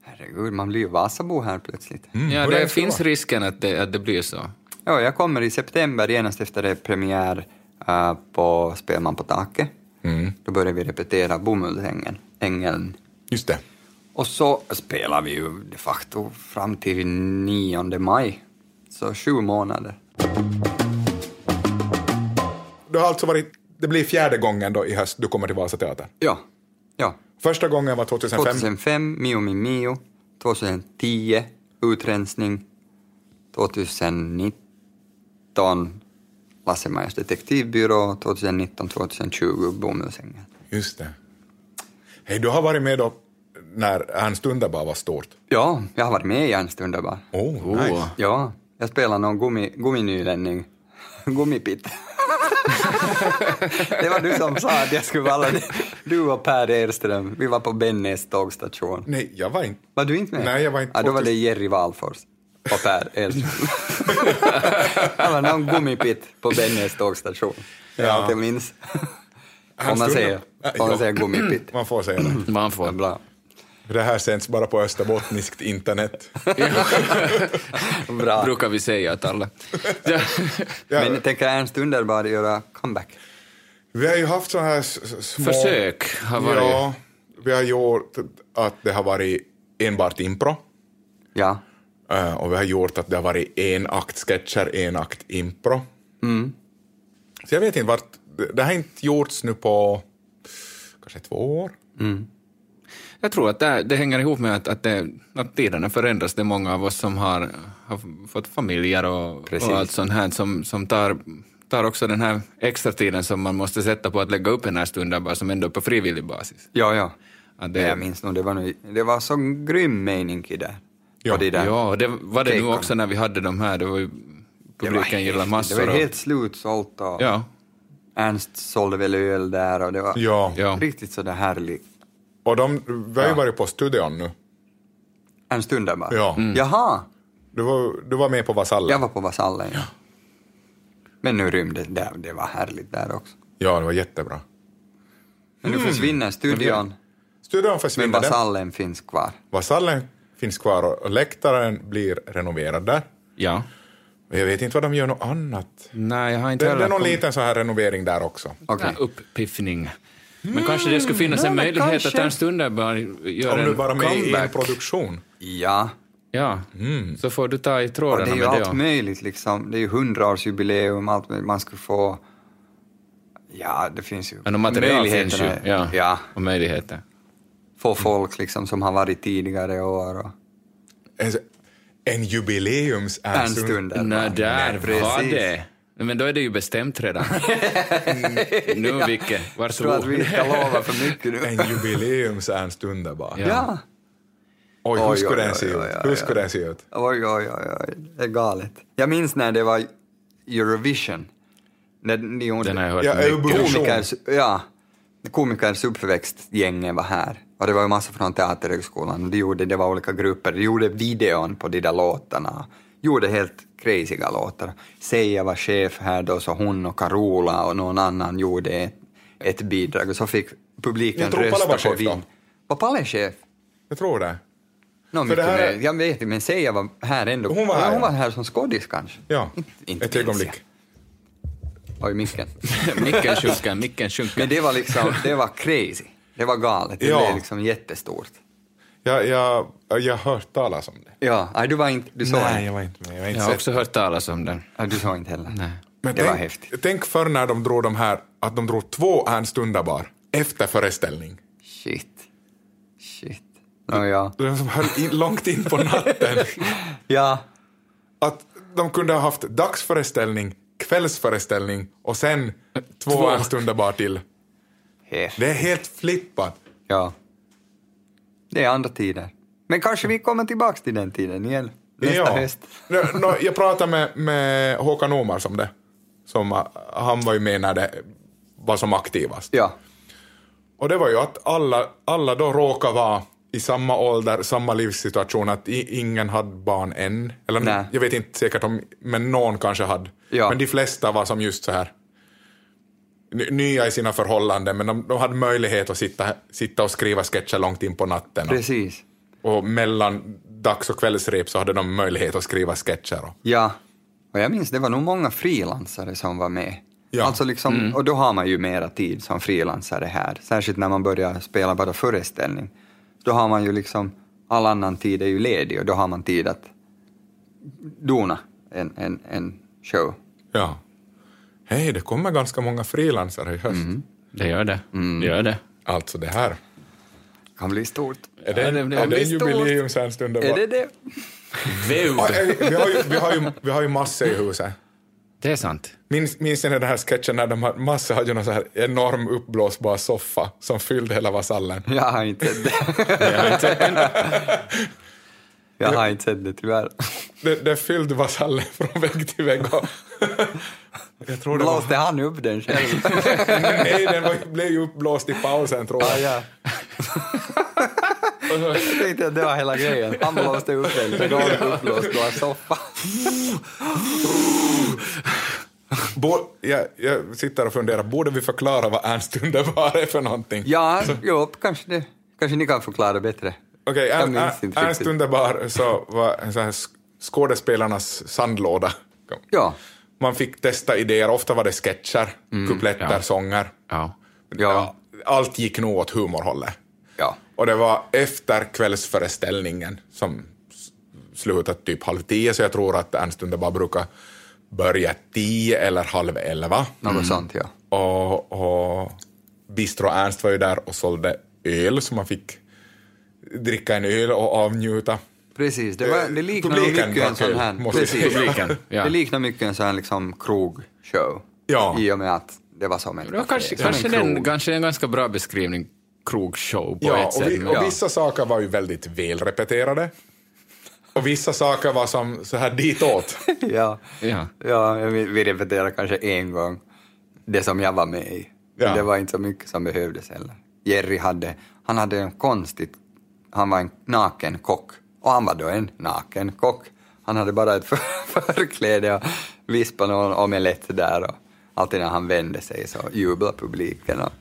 Speaker 3: Herregud, man blir ju Vasabo här plötsligt.
Speaker 2: ja
Speaker 1: hur länge
Speaker 2: det
Speaker 1: ska det
Speaker 2: finns
Speaker 1: vara?
Speaker 2: risken att det, att det blir så.
Speaker 3: Ja, jag kommer i september genast efter det är premiär eh, på Spelman på taket.
Speaker 1: Mm.
Speaker 3: Då börjar vi repetera Bomullsängeln. Ängeln.
Speaker 1: Just det.
Speaker 3: Och så spelar vi ju de facto fram till 9 maj. Så sju månader.
Speaker 1: Du har alltså varit, det blir fjärde gången då i höst du kommer till Vasateatern.
Speaker 3: Ja. ja.
Speaker 1: Första gången var 2005.
Speaker 3: 2005, Mio min Mio. 2010, Utrensning. 2019, Lasse-Majas detektivbyrå. 2019, 2020, Bomullsängeln.
Speaker 1: Just det. Hej, du har varit med då när Ernst Underbar var stort.
Speaker 3: Ja, jag har varit med i Ernst Underbar.
Speaker 1: Oh,
Speaker 2: Åh.
Speaker 1: nice.
Speaker 3: Ja, jag spelar någon gummi, gumminylänning. Gummipitt. det var du som sa att jag skulle vara Du och Per Erström, vi var på Bennäs tågstation.
Speaker 1: Nej, jag var inte...
Speaker 3: Var du inte med?
Speaker 1: Nej, jag var inte
Speaker 3: Ja, då var det
Speaker 1: 2000.
Speaker 3: Jerry Valfors och Per Erström. Han var någon gummipitt på Bennäs tågstation.
Speaker 1: Ja.
Speaker 3: Ja. Jag inte minns.
Speaker 1: Han
Speaker 3: Om man
Speaker 1: stod-
Speaker 3: säger,
Speaker 1: Ja,
Speaker 3: om man
Speaker 1: ja.
Speaker 3: säger gummipitt.
Speaker 1: Man får säga det.
Speaker 2: Man
Speaker 3: Ja,
Speaker 2: får.
Speaker 3: Bra.
Speaker 1: Det här sänds bara på österbottniskt internet.
Speaker 3: Bra.
Speaker 2: brukar vi säga att alla... Ja.
Speaker 1: Ja,
Speaker 3: Men tänker Ernst Underbar göra comeback?
Speaker 1: vi har ju haft sådana här s- s- små...
Speaker 2: Försök har varit...
Speaker 1: Ja, vi har gjort att det har varit enbart impro.
Speaker 3: Ja.
Speaker 1: Eh, Och vi har gjort att det har varit en akt sketcher, en akt impro. Så jag vet inte vart... det- Det har inte gjorts nu på kanske två år.
Speaker 2: Jag tror att det, här- det hänger ihop med att, att, det, att tiderna förändras. Det är många av oss som har, har fått familjer och,
Speaker 3: Precis.
Speaker 2: och allt sånt här som, som tar, tar också den här extra tiden som man måste sätta på att lägga upp den här stunden bara som ändå är på frivillig basis.
Speaker 3: Ja, ja.
Speaker 2: Att
Speaker 3: Det... Jag minns nog, det var, nu, det var så grym mening i det.
Speaker 1: Ja.
Speaker 3: På det där.
Speaker 2: Ja, och det var det nu
Speaker 3: Keikan.
Speaker 2: också när vi hade de här. Det var ju,
Speaker 3: Det var
Speaker 2: publiken
Speaker 3: häftigt.
Speaker 2: gillade massor.
Speaker 3: Det var
Speaker 2: och-
Speaker 3: helt slutsålt och
Speaker 2: ja,
Speaker 3: Ernst sålde väl öl där och det var
Speaker 1: Ja.
Speaker 2: ja.
Speaker 3: riktigt sådär härligt.
Speaker 1: Och de, vi har ju
Speaker 3: Ja.
Speaker 1: varit på studion nu.
Speaker 3: Ernst Underbar?
Speaker 1: Ja.
Speaker 3: Mm. Jaha,
Speaker 1: Du var, du var med på Vasallen.
Speaker 3: jag var på Vasallen. Ja. Men nu rymde det, det var härligt där också.
Speaker 1: Ja, det var jättebra.
Speaker 3: Men nu
Speaker 2: Mm.
Speaker 3: försvinner studion,
Speaker 1: Studion
Speaker 3: men
Speaker 1: försvinner. den-
Speaker 3: Vasallen finns kvar.
Speaker 1: Vasallen finns kvar och läktaren blir renoverad där.
Speaker 2: ja.
Speaker 1: Men jag vet inte vad de gör något annat.
Speaker 2: Nej, jag har inte
Speaker 1: Det, det
Speaker 2: heller
Speaker 1: är någon
Speaker 2: kommit-
Speaker 1: liten så här renovering där också.
Speaker 3: Okej.
Speaker 2: Ja, Upppiffning. Men kanske det skulle
Speaker 1: Mm,
Speaker 2: finnas
Speaker 3: ja,
Speaker 2: en
Speaker 3: men
Speaker 2: möjlighet att
Speaker 3: kanske.
Speaker 2: Ernst Underbar gör
Speaker 1: Om du
Speaker 2: en
Speaker 1: bara med i en
Speaker 2: comeback.
Speaker 1: produktion.
Speaker 3: Ja,
Speaker 2: Ja, så får du ta i
Speaker 3: och
Speaker 2: trådarna
Speaker 3: Mm. det är
Speaker 2: med
Speaker 3: ju
Speaker 2: det.
Speaker 3: allt
Speaker 2: ja.
Speaker 3: möjligt liksom. Det är ju hundraårsjubileum, allt möjligt. Man skulle få... Ja, det finns ju
Speaker 2: Men om material finns ju.
Speaker 3: möjligheterna är-
Speaker 2: Ja,
Speaker 3: ja.
Speaker 2: Och möjligheter.
Speaker 3: Få folk liksom som har varit tidigare år och...
Speaker 1: En, Alltså, en jubileums
Speaker 3: Ernst Underbar.
Speaker 2: Nej, där var
Speaker 3: precis.
Speaker 2: det. Men då är det ju bestämt redan. nu, Vicke,
Speaker 3: Jag tror att
Speaker 2: varsågod.
Speaker 3: vi ska lova för mycket nu.
Speaker 1: En jubileums Ernst Underbar.
Speaker 2: Ja.
Speaker 3: Ja.
Speaker 1: Oj, hur
Speaker 3: Oj,
Speaker 1: skulle
Speaker 3: oj,
Speaker 1: den se
Speaker 3: oj, oj,
Speaker 1: ut?
Speaker 3: oj,
Speaker 1: Hur
Speaker 3: oj.
Speaker 1: skulle den se ut?
Speaker 3: Oj, oj, oj, oj, det är galet. Jag minns när det var Eurovision. När ni gjorde...
Speaker 2: Den har jag hört
Speaker 1: Ja,
Speaker 2: mycket om.
Speaker 1: Eurovision.
Speaker 3: komikers, ja, komikers uppväxtgänget var här. Och det var ju massa från Teaterhögskolan. De gjorde, det var olika grupper. De gjorde videon på de där låtarna. Gjorde helt crazyga låtar. Seija var chef här då, så hon och Carola och någon annan gjorde ett, ett bidrag. Och så fick
Speaker 1: Jag
Speaker 3: publiken
Speaker 1: tror Palle
Speaker 3: rösta
Speaker 1: var
Speaker 3: på
Speaker 1: chef då.
Speaker 3: vin. Var Palle chef?
Speaker 1: Jag tror det.
Speaker 3: No,
Speaker 1: För
Speaker 3: mycket
Speaker 1: det här är-
Speaker 3: mer. Jag vet inte, men Seija var här ändå.
Speaker 1: Hon var här,
Speaker 3: ja, hon var
Speaker 1: ja.
Speaker 3: här som skådis kanske.
Speaker 1: Ja,
Speaker 3: inte
Speaker 1: ett
Speaker 3: minns
Speaker 1: ögonblick.
Speaker 3: Oj, micken.
Speaker 2: Micken sjunker, micken sjunker.
Speaker 3: Men det var liksom, det var crazy. Det var galet. Det
Speaker 1: Ja.
Speaker 3: blev liksom jättestort.
Speaker 1: Jag, jag, jag har hört talas om det.
Speaker 3: Ja, nej, du var inte, du såg
Speaker 1: Nej,
Speaker 3: inte.
Speaker 1: jag var inte med. Jag har inte
Speaker 2: Jag har
Speaker 1: sett
Speaker 2: också hört talas om den.
Speaker 3: Ja, du såg inte heller.
Speaker 2: Nej.
Speaker 1: Men
Speaker 3: det
Speaker 1: tänk,
Speaker 3: var häftigt.
Speaker 1: Tänk för när de drog de här, att de drog två Ernst Underbar efter föreställning.
Speaker 3: Shit. Shit. No, ja.
Speaker 1: De som höll in, långt in på natten.
Speaker 3: ja,
Speaker 1: Att de kunde ha haft dagsföreställning, kvällsföreställning och sen två,
Speaker 2: Två.
Speaker 1: Ernst Underbar till.
Speaker 3: häftigt.
Speaker 1: Det är helt flippat.
Speaker 3: Ja. Det är andra tider. Men kanske vi kommer tillbaks till den tiden igen. Nästa
Speaker 1: ja.
Speaker 3: höst.
Speaker 1: Nå, nå, jag pratade med, med Håkan Omar om det. Som, ah, han var ju med när det var som aktivast.
Speaker 3: Ja.
Speaker 1: Och det var ju att alla, alla då råkade vara i samma ålder, samma livssituation, att i, ingen hade barn än. Eller
Speaker 3: Nej.
Speaker 1: jag vet inte säkert om, men någon kanske hade.
Speaker 3: Ja.
Speaker 1: Men de flesta var som just så här ny- nya i sina förhållanden, men de, de hade möjlighet att sitta, sitta och skriva sketcher långt in på natten.
Speaker 3: Precis.
Speaker 1: Och, och mellan dags och kvällsrep så hade de möjlighet att skriva sketcher. Och,
Speaker 3: Ja, och jag minns det var nog många frilansare som var med.
Speaker 1: Ja.
Speaker 3: Alltså liksom, Och då har man ju mera tid som frilansare här, särskilt när man börjar spela bara föreställning. Då har man ju liksom, all annan tid är ju ledig och då har man tid att dona en, en, en show.
Speaker 1: ja. Hej, det kommer ganska många frilansare i höst.
Speaker 3: Mm.
Speaker 2: Det gör det. Det gör det.
Speaker 1: Alltså det här.
Speaker 3: kan bli stort.
Speaker 1: Är det,
Speaker 2: Ja,
Speaker 1: en-
Speaker 2: det- det-
Speaker 1: är det en
Speaker 3: det är stort.
Speaker 1: jubileumsernst underbar?
Speaker 3: Är det det?
Speaker 2: Vud!
Speaker 1: Ja, eh, vi, har ju, vi, har ju, vi har ju Masse i huset.
Speaker 2: Det är sant.
Speaker 1: Minns, minns ni den här sketchen när de har, Masse hade ju någon så här enorm uppblåsbar soffa som fyllde hela Vasallen?
Speaker 3: Jag har inte sett det. Jag har inte sett det tyvärr.
Speaker 1: Det, det fyllde Vasallen från vägg till vägg. Och jag tror det var,
Speaker 3: Blåste han upp den själv?
Speaker 1: nej, den var, ju- blev ju uppblåst i pausen tror
Speaker 3: Ja,
Speaker 1: jag.
Speaker 3: ja. Jag tänkte att det var hela grejen. Han blåste upp den, så gav den uppblåst bara soffa.
Speaker 1: Bo, jag, jag sitter och funderar, borde vi förklara vad Ernst Underbar är för någonting?
Speaker 3: Ja, jo, kanske det. Kanske ni kan förklara bättre
Speaker 1: Okej,
Speaker 3: Jag
Speaker 1: en,
Speaker 3: minns
Speaker 1: en,
Speaker 3: inte
Speaker 1: Ernst
Speaker 3: riktigt.
Speaker 1: Underbar så var en sån här sk- skådespelarnas sandlåda.
Speaker 3: Ja.
Speaker 1: Man fick testa idéer, ofta var det sketcher, kupletter,
Speaker 2: ja.
Speaker 1: sånger.
Speaker 2: Ja.
Speaker 3: Ja.
Speaker 1: Allt gick nog åt humorhållet.
Speaker 3: Ja.
Speaker 1: Och det var efter kvällsföreställningen som s- slutade typ halv tio, så jag tror att Ernst Underbar brukar börja tio eller halv elva.
Speaker 3: Något sånt, ja.
Speaker 1: Och, och Bistro Ernst var ju där och sålde öl, så man fick dricka en öl och avnjuta.
Speaker 3: Precis, det, var, det liknar nog
Speaker 1: Publiken
Speaker 3: mycket en
Speaker 1: tackar
Speaker 3: sån
Speaker 1: ju,
Speaker 3: här...
Speaker 1: måste jag
Speaker 3: Precis.
Speaker 1: säga.
Speaker 2: Publiken. Ja.
Speaker 3: Det liknar mycket en sån här liksom krogshow.
Speaker 1: Ja.
Speaker 3: I och med att det var som ett
Speaker 2: Det var kanske,
Speaker 3: som en
Speaker 2: kanske,
Speaker 3: krog.
Speaker 2: den, kanske en ganska bra beskrivning, krogshow på
Speaker 1: Ja,
Speaker 2: ett
Speaker 1: och,
Speaker 2: sätt.
Speaker 1: vi,
Speaker 2: men-
Speaker 1: och vissa saker var ju väldigt välrepeterade. Och vissa saker var som så här ditåt.
Speaker 3: Ja,
Speaker 2: Ja.
Speaker 3: ja jag vill- vi repeterade kanske en gång det som jag var med i.
Speaker 1: Ja.
Speaker 3: Det var inte så mycket som behövdes heller. Jerry hade, han hade en konstigt, han var en naken kock. Och han var då en naken kock. Han hade bara ett för- förkläde och vispade någon omelett där och alltid när han vände sig så jublade publiken. Och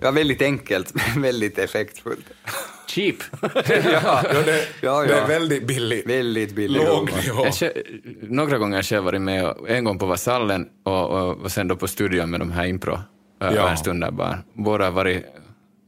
Speaker 3: det var väldigt enkelt, men väldigt effektfullt.
Speaker 2: Cheap.
Speaker 3: ja,
Speaker 1: Ja, det,
Speaker 3: ja,
Speaker 1: det
Speaker 3: ja.
Speaker 1: är väldigt billigt.
Speaker 3: Väldigt billig
Speaker 1: Låg
Speaker 3: humor.
Speaker 1: nivå.
Speaker 2: Jag kö- några gånger har jag själv varit med, och- en gång på Vasallen och, och, och sen då på studion med de här impro, äh,
Speaker 1: Ja.
Speaker 2: Ernst Underbar. Båda har varit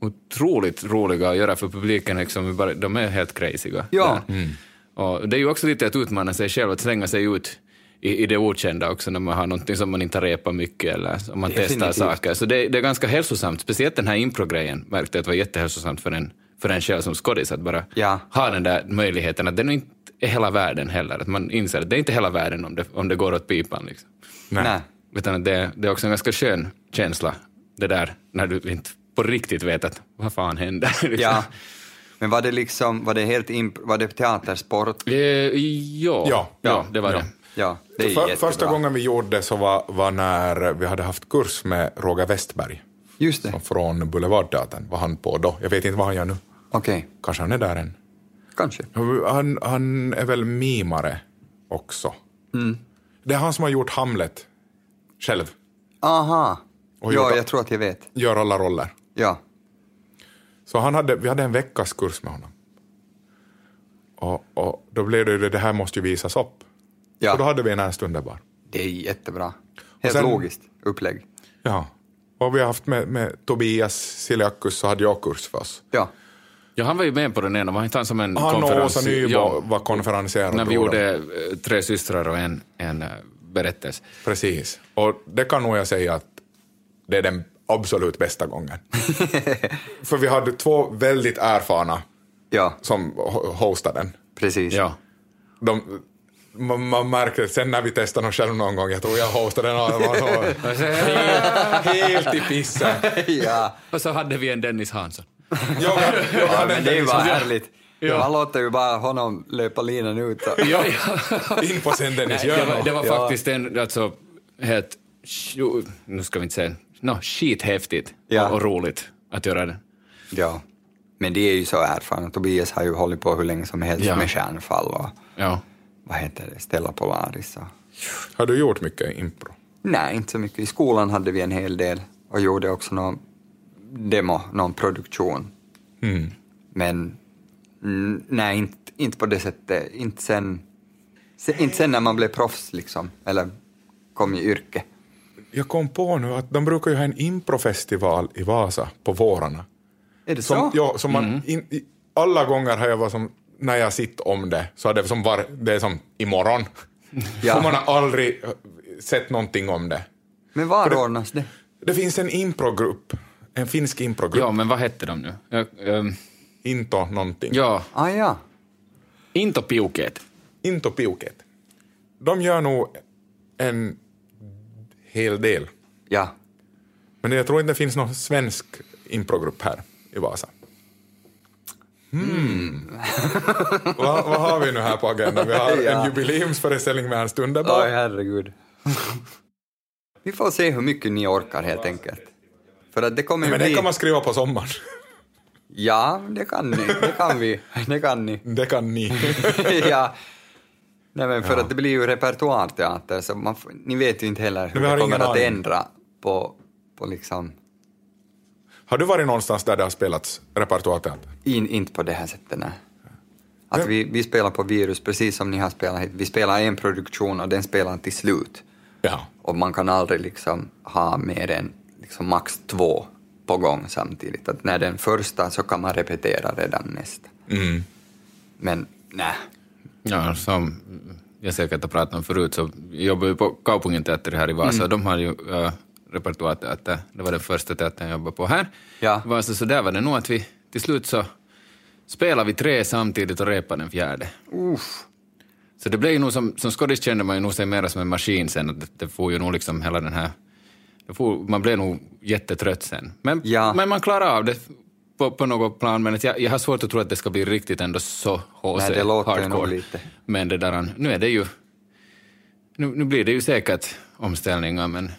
Speaker 2: otroligt roliga att göra för publiken, liksom, bara- de är helt crazyga.
Speaker 3: Ja.
Speaker 2: där. Och det är ju också lite att utmana sig själv, att slänga sig ut i, i det okända också när man har någonting som man inte har repat mycket eller om man testar
Speaker 3: Definitivt.
Speaker 2: saker. Så det, det är ganska hälsosamt, speciellt den här impro-grejen märkte jag att det var jättehälsosamt för en, för en själv som skådis att bara
Speaker 3: Ja.
Speaker 2: ha den där möjligheten att det nog inte är hela världen heller. Att man inser att det är inte hela världen om det, om det går åt pipan. Liksom.
Speaker 1: Nej.
Speaker 3: Nej.
Speaker 2: Utan att det, det är också en ganska skön känsla, det där när du inte på riktigt vet att vad fan händer. Liksom.
Speaker 3: Ja. Men var det liksom, var det helt imp- var det teatersport?
Speaker 2: Eh, ja.
Speaker 1: Ja.
Speaker 2: Ja. det var
Speaker 1: Ja.
Speaker 2: det.
Speaker 3: Ja, det är
Speaker 1: För,
Speaker 3: jättebra.
Speaker 1: första gången vi gjorde det så var, var när vi hade haft kurs med Roger Westberg
Speaker 3: Just det,
Speaker 1: från Boulevardteatern. Var han på då? Jag vet inte vad han gör nu.
Speaker 3: okej.
Speaker 1: Kanske han är där än.
Speaker 3: Kanske.
Speaker 1: Han, han är väl mimare också. Det är han som har gjort Hamlet själv.
Speaker 3: Aha.
Speaker 1: Och
Speaker 3: ja,
Speaker 1: gjort-
Speaker 3: jag tror att jag vet.
Speaker 1: Gör alla roller.
Speaker 3: Ja.
Speaker 1: Så han hade, vi hade en veckas kurs med honom. Och, och då blev det ju det, det här måste ju visas upp.
Speaker 3: ja.
Speaker 1: Och då hade vi en Ernst Underbar.
Speaker 3: Det är jättebra. Helt
Speaker 1: sen-
Speaker 3: logiskt upplägg.
Speaker 1: Ja. Och vi har haft med, med Tobias Siliakus så hade jag kurs för oss.
Speaker 3: Ja.
Speaker 2: Ja, han var ju med på den ena, var inte han som en
Speaker 1: Han och
Speaker 2: konferens?
Speaker 1: Åsa Nybo
Speaker 2: ja,
Speaker 1: var konferenserade.
Speaker 2: när
Speaker 1: då.
Speaker 2: vi gjorde eh, Tre systrar och en, en eh, berättelse.
Speaker 1: Precis. Och det kan nog jag säga att det är den absolut bästa gången. För vi hade två väldigt erfarna
Speaker 3: Ja,
Speaker 1: som ho- hostade den.
Speaker 3: precis.
Speaker 2: Ja.
Speaker 1: De, man, man märker sen när vi testade den själv någon gång, jag tror jag hostade den och det var så helt, helt i pissen.
Speaker 3: ja.
Speaker 2: Och så hade vi en Dennis Hansson.
Speaker 1: Jag, jag liksom-
Speaker 3: ja
Speaker 1: hade
Speaker 3: men det var
Speaker 1: en
Speaker 3: härligt. Ja. Man låter ju bara honom löpa linan ut. Och...
Speaker 2: Ja.
Speaker 1: in på sen Dennis,
Speaker 2: det
Speaker 1: gör
Speaker 2: var, det
Speaker 1: något.
Speaker 2: var
Speaker 3: Ja.
Speaker 2: faktiskt en, alltså, helt, sjo- nu ska vi inte säga, no, skithäftigt
Speaker 3: Ja.
Speaker 2: och, och roligt att göra det.
Speaker 3: Ja. Men det är ju så erfarna. Tobias har ju hållit på hur länge som helst
Speaker 2: Ja.
Speaker 3: med kärnfall och
Speaker 2: Ja.
Speaker 3: vad heter det, Stella Polaris och
Speaker 1: Har du gjort mycket impro?
Speaker 3: Nej, inte så mycket. I skolan hade vi en hel del och gjorde också någon demo, någon produktion. Men mm, nej, inte, inte på det sättet. Inte sen, se, inte sen när man blev proffs, liksom, eller kom i yrke.
Speaker 1: Jag kom på nu att de brukar ju ha en improfestival i Vasa på vårarna.
Speaker 3: Är det så?
Speaker 1: Som, ja, som
Speaker 2: Mm.
Speaker 1: man, in, i, alla gånger har jag varit som, när jag sitter om det, så har det som var, det är som imorgon.
Speaker 3: Ja.
Speaker 1: Och man har aldrig eh, sett någonting om det.
Speaker 3: Men var ordnas det?
Speaker 1: Det finns en improgrupp, en finsk improgrupp,
Speaker 2: ja, men vad hette de nu? Jag, ehm,
Speaker 1: Into någonting,
Speaker 2: ja,
Speaker 3: Ah, ja.
Speaker 2: inte Piuket.
Speaker 1: Into Piuket. De gör nog en hel del,
Speaker 3: Ja.
Speaker 1: men jag tror inte det finns någon svensk improgrupp här i Vasa. Hmm. vad, vad har vi nu här på agendan? Vi har
Speaker 3: Ja.
Speaker 1: en jubileumsföreställning med Ernst Underbar.
Speaker 3: Oj, herregud. vi får se hur mycket ni orkar, helt enkelt. För att det kommer ju
Speaker 1: Men det
Speaker 3: bli...
Speaker 1: kan man skriva på sommaren.
Speaker 3: Ja, det kan ni. Det kan vi. Det kan ni.
Speaker 1: Det kan ni.
Speaker 3: ja. Nej, men för att det blir ju repertoarteater, så man, får- ni vet ju inte heller hur
Speaker 1: vi har
Speaker 3: det kommer
Speaker 1: ingen
Speaker 3: att
Speaker 1: aning.
Speaker 3: ändra på, på liksom...
Speaker 1: Har du varit någonstans där det har spelats repertoarteater?
Speaker 3: In, inte på det här sättet, nej. Att vi, vi spelar på virus precis som ni har spelat hit. Vi spelar en produktion och den spelar till slut.
Speaker 1: Ja.
Speaker 3: Och man kan aldrig liksom ha mer än liksom max två på gång samtidigt. Att när den första så kan man repetera redan nästa.
Speaker 1: Mm.
Speaker 3: Men nej.
Speaker 2: Ja, som jag säkert har pratat om förut så jobbar vi på Kaupungin teater här i
Speaker 3: Mm.
Speaker 2: Vasa. De har ju äh, repertoarteater. Det var den första teatern jag jobbade på här
Speaker 3: Ja.
Speaker 2: i Vasa. Så där var det nog att vi till slut så spelade vi tre samtidigt och repade den fjärde.
Speaker 3: Uff.
Speaker 2: Så det blev ju nog som, som skådis kände man ju nog sig mera som en maskin sen. att Det, det får ju nog liksom hela den här... Det får, man blev nog jättetrött sen. Men,
Speaker 3: Ja.
Speaker 2: men man klarar av det på, på något plan. Men att jag, jag har svårt att tro att det ska bli riktigt ändå så HC
Speaker 3: Nej, det låter ju nog
Speaker 2: hardcore.
Speaker 3: lite.
Speaker 2: Men det där, nu är det ju... Nu, nu blir det ju säkert omställningar men,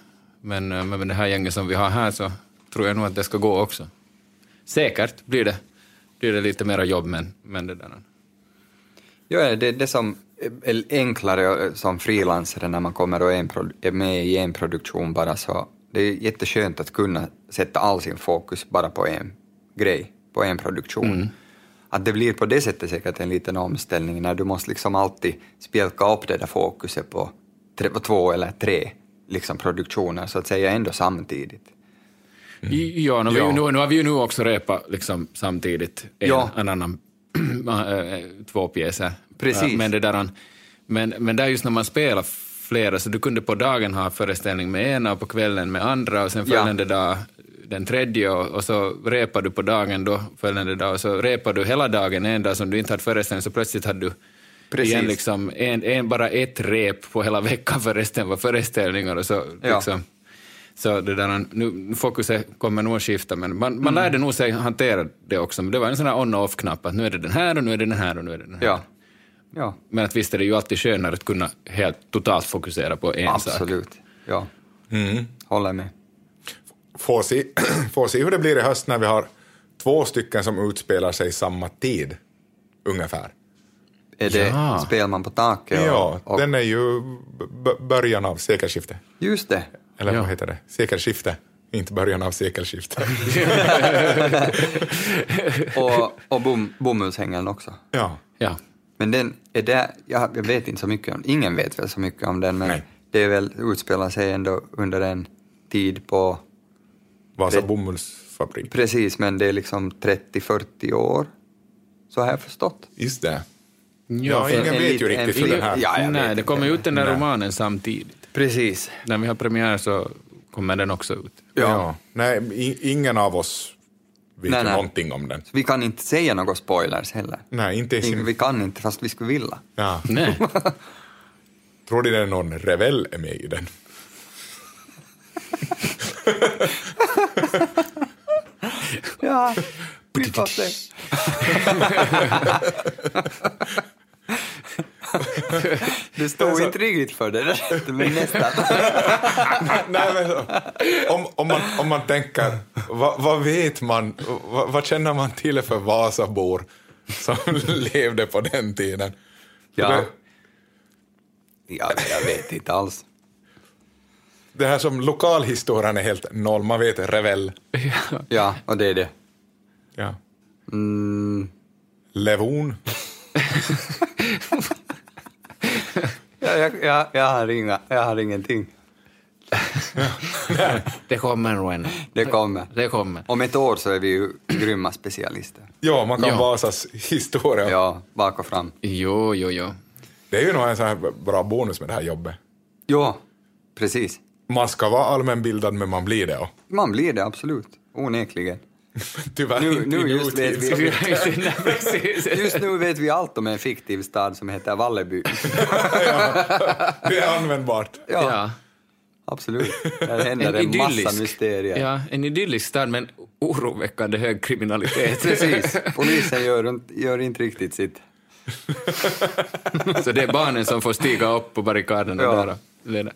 Speaker 2: men, eh, men med det här gänget som vi har här så tror jag nog att det ska gå också. Säkert blir det, blir det lite mera jobb men, men det där...
Speaker 3: Ja, det är det som är enklare eh, som frilansare när man kommer och är en produ- är med i en produktion bara så det är jätteskönt att kunna sätta all sin fokus bara på en grej, på en produktion.
Speaker 2: Mm.
Speaker 3: Att det blir på det sättet säkert en liten omställning när du måste liksom alltid spjälka upp det där fokuset på, tre, på två eller tre liksom produktioner så att säga ändå samtidigt.
Speaker 2: Ja, nu, har
Speaker 1: Ja.
Speaker 2: Vi, nu, nu har vi ju nu också repat liksom, samtidigt en,
Speaker 3: Ja.
Speaker 2: en annan, äh, två pjäser.
Speaker 3: Precis.
Speaker 2: Ja, Men, det där, men, men där just när man spelar flera, så du kunde på dagen ha föreställning med ena och på kvällen med andra och sen
Speaker 3: Ja.
Speaker 2: följande dag den tredje och, och så repar du på dagen då följande dag och så repar du hela dagen en dag som du inte hade föreställning så plötsligt hade du
Speaker 3: Precis.
Speaker 2: igen liksom en, en, bara ett rep på hela veckan för resten var föreställningar och så
Speaker 3: Ja.
Speaker 2: liksom så det där, nu, fokuset kommer nog att skifta, men man, man lärde nog sig hantera det också. Men det var en sån här on och off-knapp, att nu är det den här och nu är det den här och nu är det den här.
Speaker 3: Ja. Ja,
Speaker 2: Men att visst är det ju alltid skönare att kunna helt totalt fokusera på en sak. Mm.
Speaker 3: absolut. Ja. Håller med.
Speaker 1: Får se, får se hur det blir i höst när vi har två stycken som utspelar sig samma tid, ungefär.
Speaker 3: Är det
Speaker 2: Ja.
Speaker 3: Spel man på taket? Och,
Speaker 1: Ja,
Speaker 3: och,
Speaker 1: den är ju b- b- början av sekelskiftet.
Speaker 3: Just det.
Speaker 1: Eller
Speaker 2: Ja.
Speaker 1: vad heter det? Sekelskifte. Inte början av sekelskiftet.
Speaker 3: Och, och bom, bomullshängeln också.
Speaker 1: ja.
Speaker 2: Ja.
Speaker 3: Men den är där, jag, jag vet inte så mycket om Ingen vet väl så mycket om den, men
Speaker 1: Nej.
Speaker 3: det är väl utspelar sig ändå under en tid på,
Speaker 1: Vasa
Speaker 3: Det-
Speaker 1: bomullsfabrik.
Speaker 3: precis, men det är liksom 30-40 år, så har jag förstått.
Speaker 1: Just det.
Speaker 2: ja,
Speaker 1: Ja,
Speaker 2: för-
Speaker 1: ingen
Speaker 3: en
Speaker 1: vet ju
Speaker 3: liten- en
Speaker 1: riktigt hur
Speaker 3: liten-
Speaker 1: den här...
Speaker 3: Ja, jag
Speaker 2: Nej,
Speaker 3: vet
Speaker 2: det kommer ju ut den där
Speaker 1: Nej.
Speaker 2: romanen samtidigt.
Speaker 3: Precis.
Speaker 2: När vi har premiär så kommer den också ut.
Speaker 1: Ja. Nej, i- ingen av oss vet
Speaker 3: Nej,
Speaker 1: ju
Speaker 3: nej.
Speaker 1: någonting om den.
Speaker 3: Så vi kan inte säga några spoilers heller.
Speaker 1: Nej, inte i sin...
Speaker 3: Vi kan inte, fast vi skulle vilja.
Speaker 1: Ja.
Speaker 2: Nej.
Speaker 1: Tror du det är någon revell är med i den?
Speaker 3: Ja, vi får se. Det stod inte riktigt för det, där, men nästan.
Speaker 1: Nej, men, om, om, man, om man tänker, vad, vad vet man, vad, vad känner man till för Vasabor som levde på den tiden? För
Speaker 3: Ja.
Speaker 1: Det,
Speaker 3: Ja, men jag vet inte alls.
Speaker 1: det här som lokalhistorien är helt noll, man vet revell.
Speaker 3: Ja, och det är det.
Speaker 1: Ja.
Speaker 3: Mm.
Speaker 1: Levon.
Speaker 3: Ja, jag, jag, jag, har inga, jag har ingenting.
Speaker 2: Det kommer nog en.
Speaker 3: Det kommer.
Speaker 2: Det kommer.
Speaker 3: Om ett år så är vi ju grymma specialister.
Speaker 1: Ja, man kan
Speaker 2: Ja.
Speaker 1: Vasas historia.
Speaker 3: Ja, bak och fram.
Speaker 2: Jo, jo, jo.
Speaker 1: Det är ju nog en sån här bra bonus med det här jobbet.
Speaker 3: Ja, precis.
Speaker 1: Man ska vara allmänbildad, men man blir det. Och,
Speaker 3: Man blir det absolut, onekligen.
Speaker 1: tyvärr
Speaker 3: Nu-
Speaker 1: inte
Speaker 3: nu
Speaker 1: i
Speaker 3: just vet
Speaker 1: nutid.
Speaker 3: vi-
Speaker 1: så-
Speaker 2: Nej, precis.
Speaker 3: Just nu vet vi allt om en fiktiv stad som heter Valleby.
Speaker 1: Det är användbart.
Speaker 3: Ja,
Speaker 2: Ja.
Speaker 3: absolut. Där händer
Speaker 2: En
Speaker 3: en, massa
Speaker 2: idyllisk.
Speaker 3: mysterier.
Speaker 2: Ja, en idyllisk stad men oroväckande hög kriminalitet.
Speaker 3: Precis. Polisen gör, inte- gör inte riktigt sitt.
Speaker 2: Så det är barnen som får stiga upp på barrikaderna
Speaker 3: Ja.
Speaker 2: där och leda.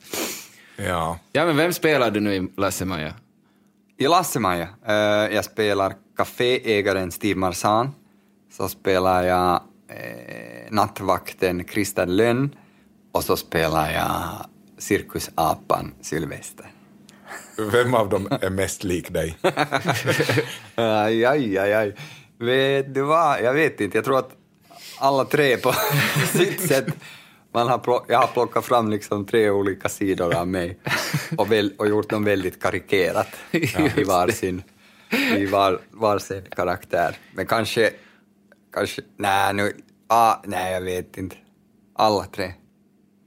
Speaker 1: Ja.
Speaker 2: Ja, men vem spelar du nu i Lasse-Maja?
Speaker 3: I Lasse-Maja, eh, jag spelar kaféägaren Steve Marsan, så spelar jag eh, nattvakten Christer Lönn och så spelar jag cirkusapan Sylvester.
Speaker 1: Vem av dem är mest lik dig?
Speaker 3: Aj, aj, aj, aj. Vet du vad? Jag vet inte. Jag tror att alla tre på sitt sätt... Man har plock, jag har plockat fram liksom tre olika sidor av mig och, väl, och gjort dem väldigt karikerat i var sin, i var, var sin karaktär. Men kanske... kanske nej, nu, ah, nej, jag vet inte. Alla tre.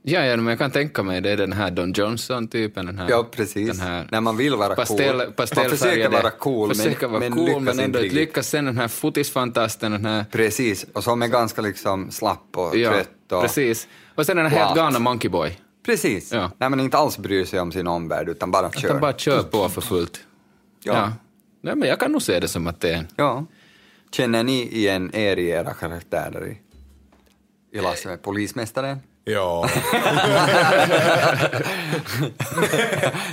Speaker 2: Ja, ja, men jag kan tänka mig det är den här Don Johnson-typen. Den här,
Speaker 3: Ja, precis.
Speaker 2: Den här
Speaker 3: När man vill vara
Speaker 2: pastell,
Speaker 3: cool. man försöker
Speaker 2: pastellfärgade.
Speaker 3: vara cool, men,
Speaker 2: försöker vara
Speaker 3: men
Speaker 2: cool,
Speaker 3: lyckas
Speaker 2: men ändå
Speaker 3: inte
Speaker 2: inte
Speaker 3: riktigt.
Speaker 2: lyckas. Sen den här fotisfantasten, den här...
Speaker 3: Precis, och som är ganska liksom slapp och
Speaker 2: Ja,
Speaker 3: trött. Och...
Speaker 2: precis. Och sen den här helt
Speaker 3: Platt.
Speaker 2: galna Monkey Boy.
Speaker 3: Precis.
Speaker 2: Ja.
Speaker 3: Nej, men inte alls bryr sig om sin omvärld, utan bara
Speaker 2: Att
Speaker 3: kör.
Speaker 2: han bara kör på för fullt.
Speaker 3: Ja.
Speaker 2: Nej, men jag kan nog se det som att det är en...
Speaker 3: Ja. Känner ni igen er i era karaktärer i, i Lasse med polismästaren?
Speaker 1: Ja.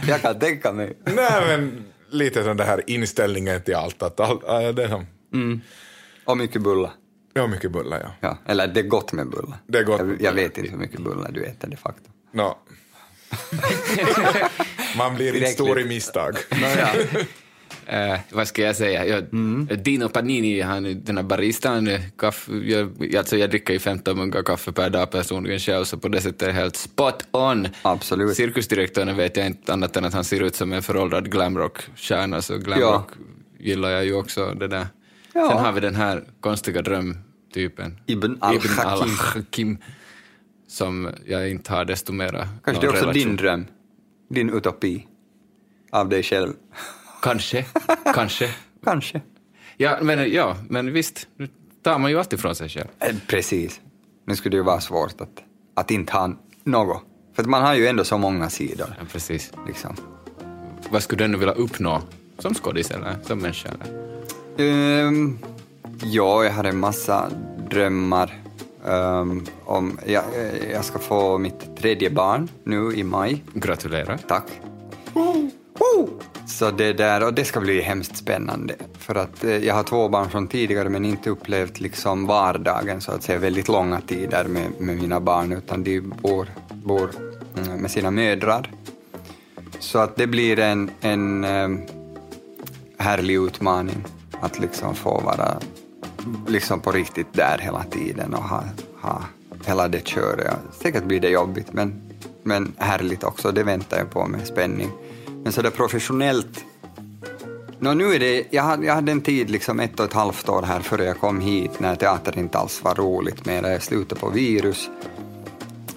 Speaker 3: Jag kan tänka mig.
Speaker 1: Nej, men lite den här inställningen till allt. Att all, äh, det är som,
Speaker 3: Och mycket bulla.
Speaker 1: jag har mycket bullar, ja.
Speaker 3: Ja. Eller det är gott med bulla.
Speaker 1: Det är gott med
Speaker 3: jag, jag vet inte hur mycket bulla du äter de facto.
Speaker 1: Nå. Man blir inte
Speaker 3: Tillräckligt.
Speaker 1: stor i misstag.
Speaker 2: Eh, vad ska jag säga? Jag,
Speaker 3: Mm.
Speaker 2: Dino Panini, han, den här baristan, eh, kaffe, jag, alltså jag dricker ju 15 muggar kaffe per dag personligen själv, så på det sättet är det helt spot on.
Speaker 3: Absolut.
Speaker 2: Cirkusdirektören vet jag inte annat än att han ser ut som en föråldrad glamrockstjärna, så glamrock gillar jag ju också. Det där.
Speaker 3: Ja.
Speaker 2: Sen har vi den här konstiga drömtypen.
Speaker 3: Ibn al-Hakim.
Speaker 2: al-Hakim. Som jag inte har desto mera
Speaker 3: Kanske det är
Speaker 2: någon
Speaker 3: också
Speaker 2: relation.
Speaker 3: din dröm, din utopi av dig själv.
Speaker 2: Kanske, kanske.
Speaker 3: Kanske.
Speaker 2: Ja, men, ja, men visst, nu tar man ju allt ifrån sig själv.
Speaker 3: Eh, Precis. Nu skulle det ju vara svårt att, att inte ha något. För att man har ju ändå så många sidor.
Speaker 2: Ja, precis.
Speaker 3: Liksom.
Speaker 2: Vad skulle du nu vilja uppnå som skådis eller som människa? Eller?
Speaker 3: Ehm, ja, jag har en massa drömmar. Ehm, om, jag, eh, jag ska få mitt tredje barn nu i maj.
Speaker 2: Gratulerar.
Speaker 3: Tack. Så det där, och det ska bli hemskt spännande. För att eh, jag har två barn från tidigare men inte upplevt liksom vardagen så att säga väldigt långa tider med, med mina barn utan de bor, bor mm, med sina mödrar. Så att det blir en, en eh, härlig utmaning att liksom få vara liksom på riktigt där hela tiden och ha, ha hela det köret. Ja, Säkert blir det jobbigt men, men härligt också, det väntar jag på med spänning. Men sådär professionellt Nå, nu är det, jag, hade, jag hade en tid, liksom ett och ett halvt år här före jag kom hit, när teater inte alls var roligt mera. Jag slutade på virus.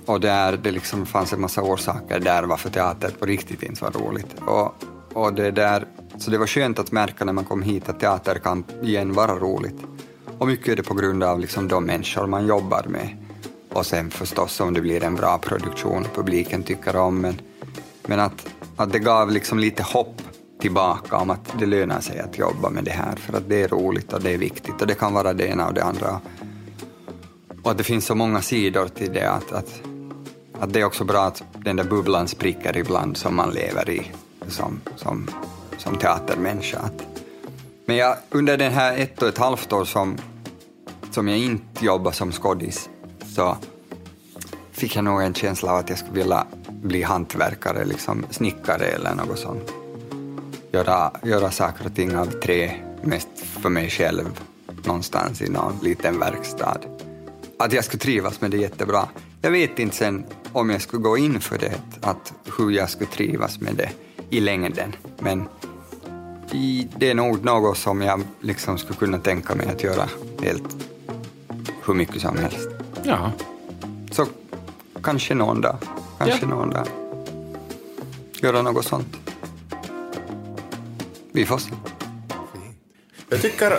Speaker 3: Och där det liksom fanns en massa orsaker där varför teater på riktigt inte var roligt. Och, och det där, så det var skönt att märka när man kom hit att teater kan igen vara roligt. Och mycket är det på grund av liksom de människor man jobbar med. Och sen förstås om det blir en bra produktion och publiken tycker om men, men att, att det gav liksom lite hopp tillbaka om att det lönar sig att jobba med det här för att det är roligt och det är viktigt och det kan vara det ena och det andra. Och att det finns så många sidor till det att, att, att det är också bra att den där bubblan spricker ibland som man lever i som, som, som teatermänniska. Att, men jag, under den här ett och ett halvt år som, som jag inte jobbar som skådis så fick jag nog en känsla av att jag skulle vilja bli hantverkare, liksom snickare eller något sånt. Göra, göra saker och ting av trä, mest för mig själv, någonstans i någon liten verkstad. Att jag skulle trivas med det jättebra. Jag vet inte sen om jag skulle gå in för det, att hur jag skulle trivas med det i längden, men i, det är nog något som jag liksom skulle kunna tänka mig att göra helt hur mycket som helst.
Speaker 2: Ja.
Speaker 3: Så kanske någon dag. Kanske
Speaker 2: Ja.
Speaker 3: någon dag. Göra något sånt. Vi får se.
Speaker 1: Jag tycker,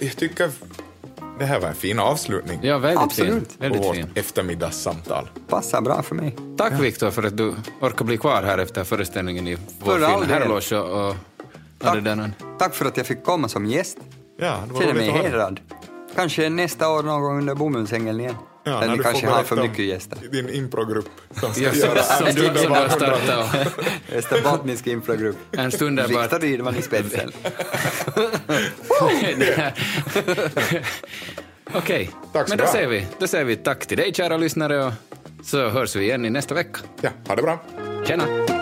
Speaker 1: jag tycker det här var en fin avslutning
Speaker 2: ja, väldigt
Speaker 3: Absolut.
Speaker 2: fin.
Speaker 1: på
Speaker 2: Väldigt
Speaker 1: vårt
Speaker 2: fin.
Speaker 1: eftermiddagssamtal.
Speaker 3: Passar bra för mig.
Speaker 2: Tack Viktor för att du orkar bli kvar här efter föreställningen i vår
Speaker 3: För all
Speaker 2: film
Speaker 3: del.
Speaker 2: Herrloge och, och
Speaker 3: Tack,
Speaker 2: det där.
Speaker 3: tack för att jag fick komma som gäst.
Speaker 1: Ja, det var
Speaker 3: Känner mig
Speaker 1: roligt att höra.
Speaker 3: hedrad. Kanske nästa år någon gång under bomullsängeln igen.
Speaker 1: Ja,
Speaker 3: Där
Speaker 1: när
Speaker 3: ni
Speaker 1: du
Speaker 3: kanske
Speaker 1: får
Speaker 3: har för
Speaker 1: berätta om
Speaker 3: mycket gäster.
Speaker 1: Din improgrupp som ska
Speaker 2: Ja,
Speaker 1: göra
Speaker 2: som, som,
Speaker 1: en
Speaker 2: du, som du har
Speaker 1: underbar
Speaker 2: startat. och-
Speaker 3: Österbottnisk improgrupp.
Speaker 2: En stund där bara-
Speaker 3: Viktor Rydman i spetsen.
Speaker 2: Okej,
Speaker 1: Tack så
Speaker 2: men då
Speaker 1: bra.
Speaker 2: säger, vi, då säger vi tack till dig kära lyssnare och så hörs vi igen i nästa vecka.
Speaker 1: Ja, ha det bra.
Speaker 2: Tjena!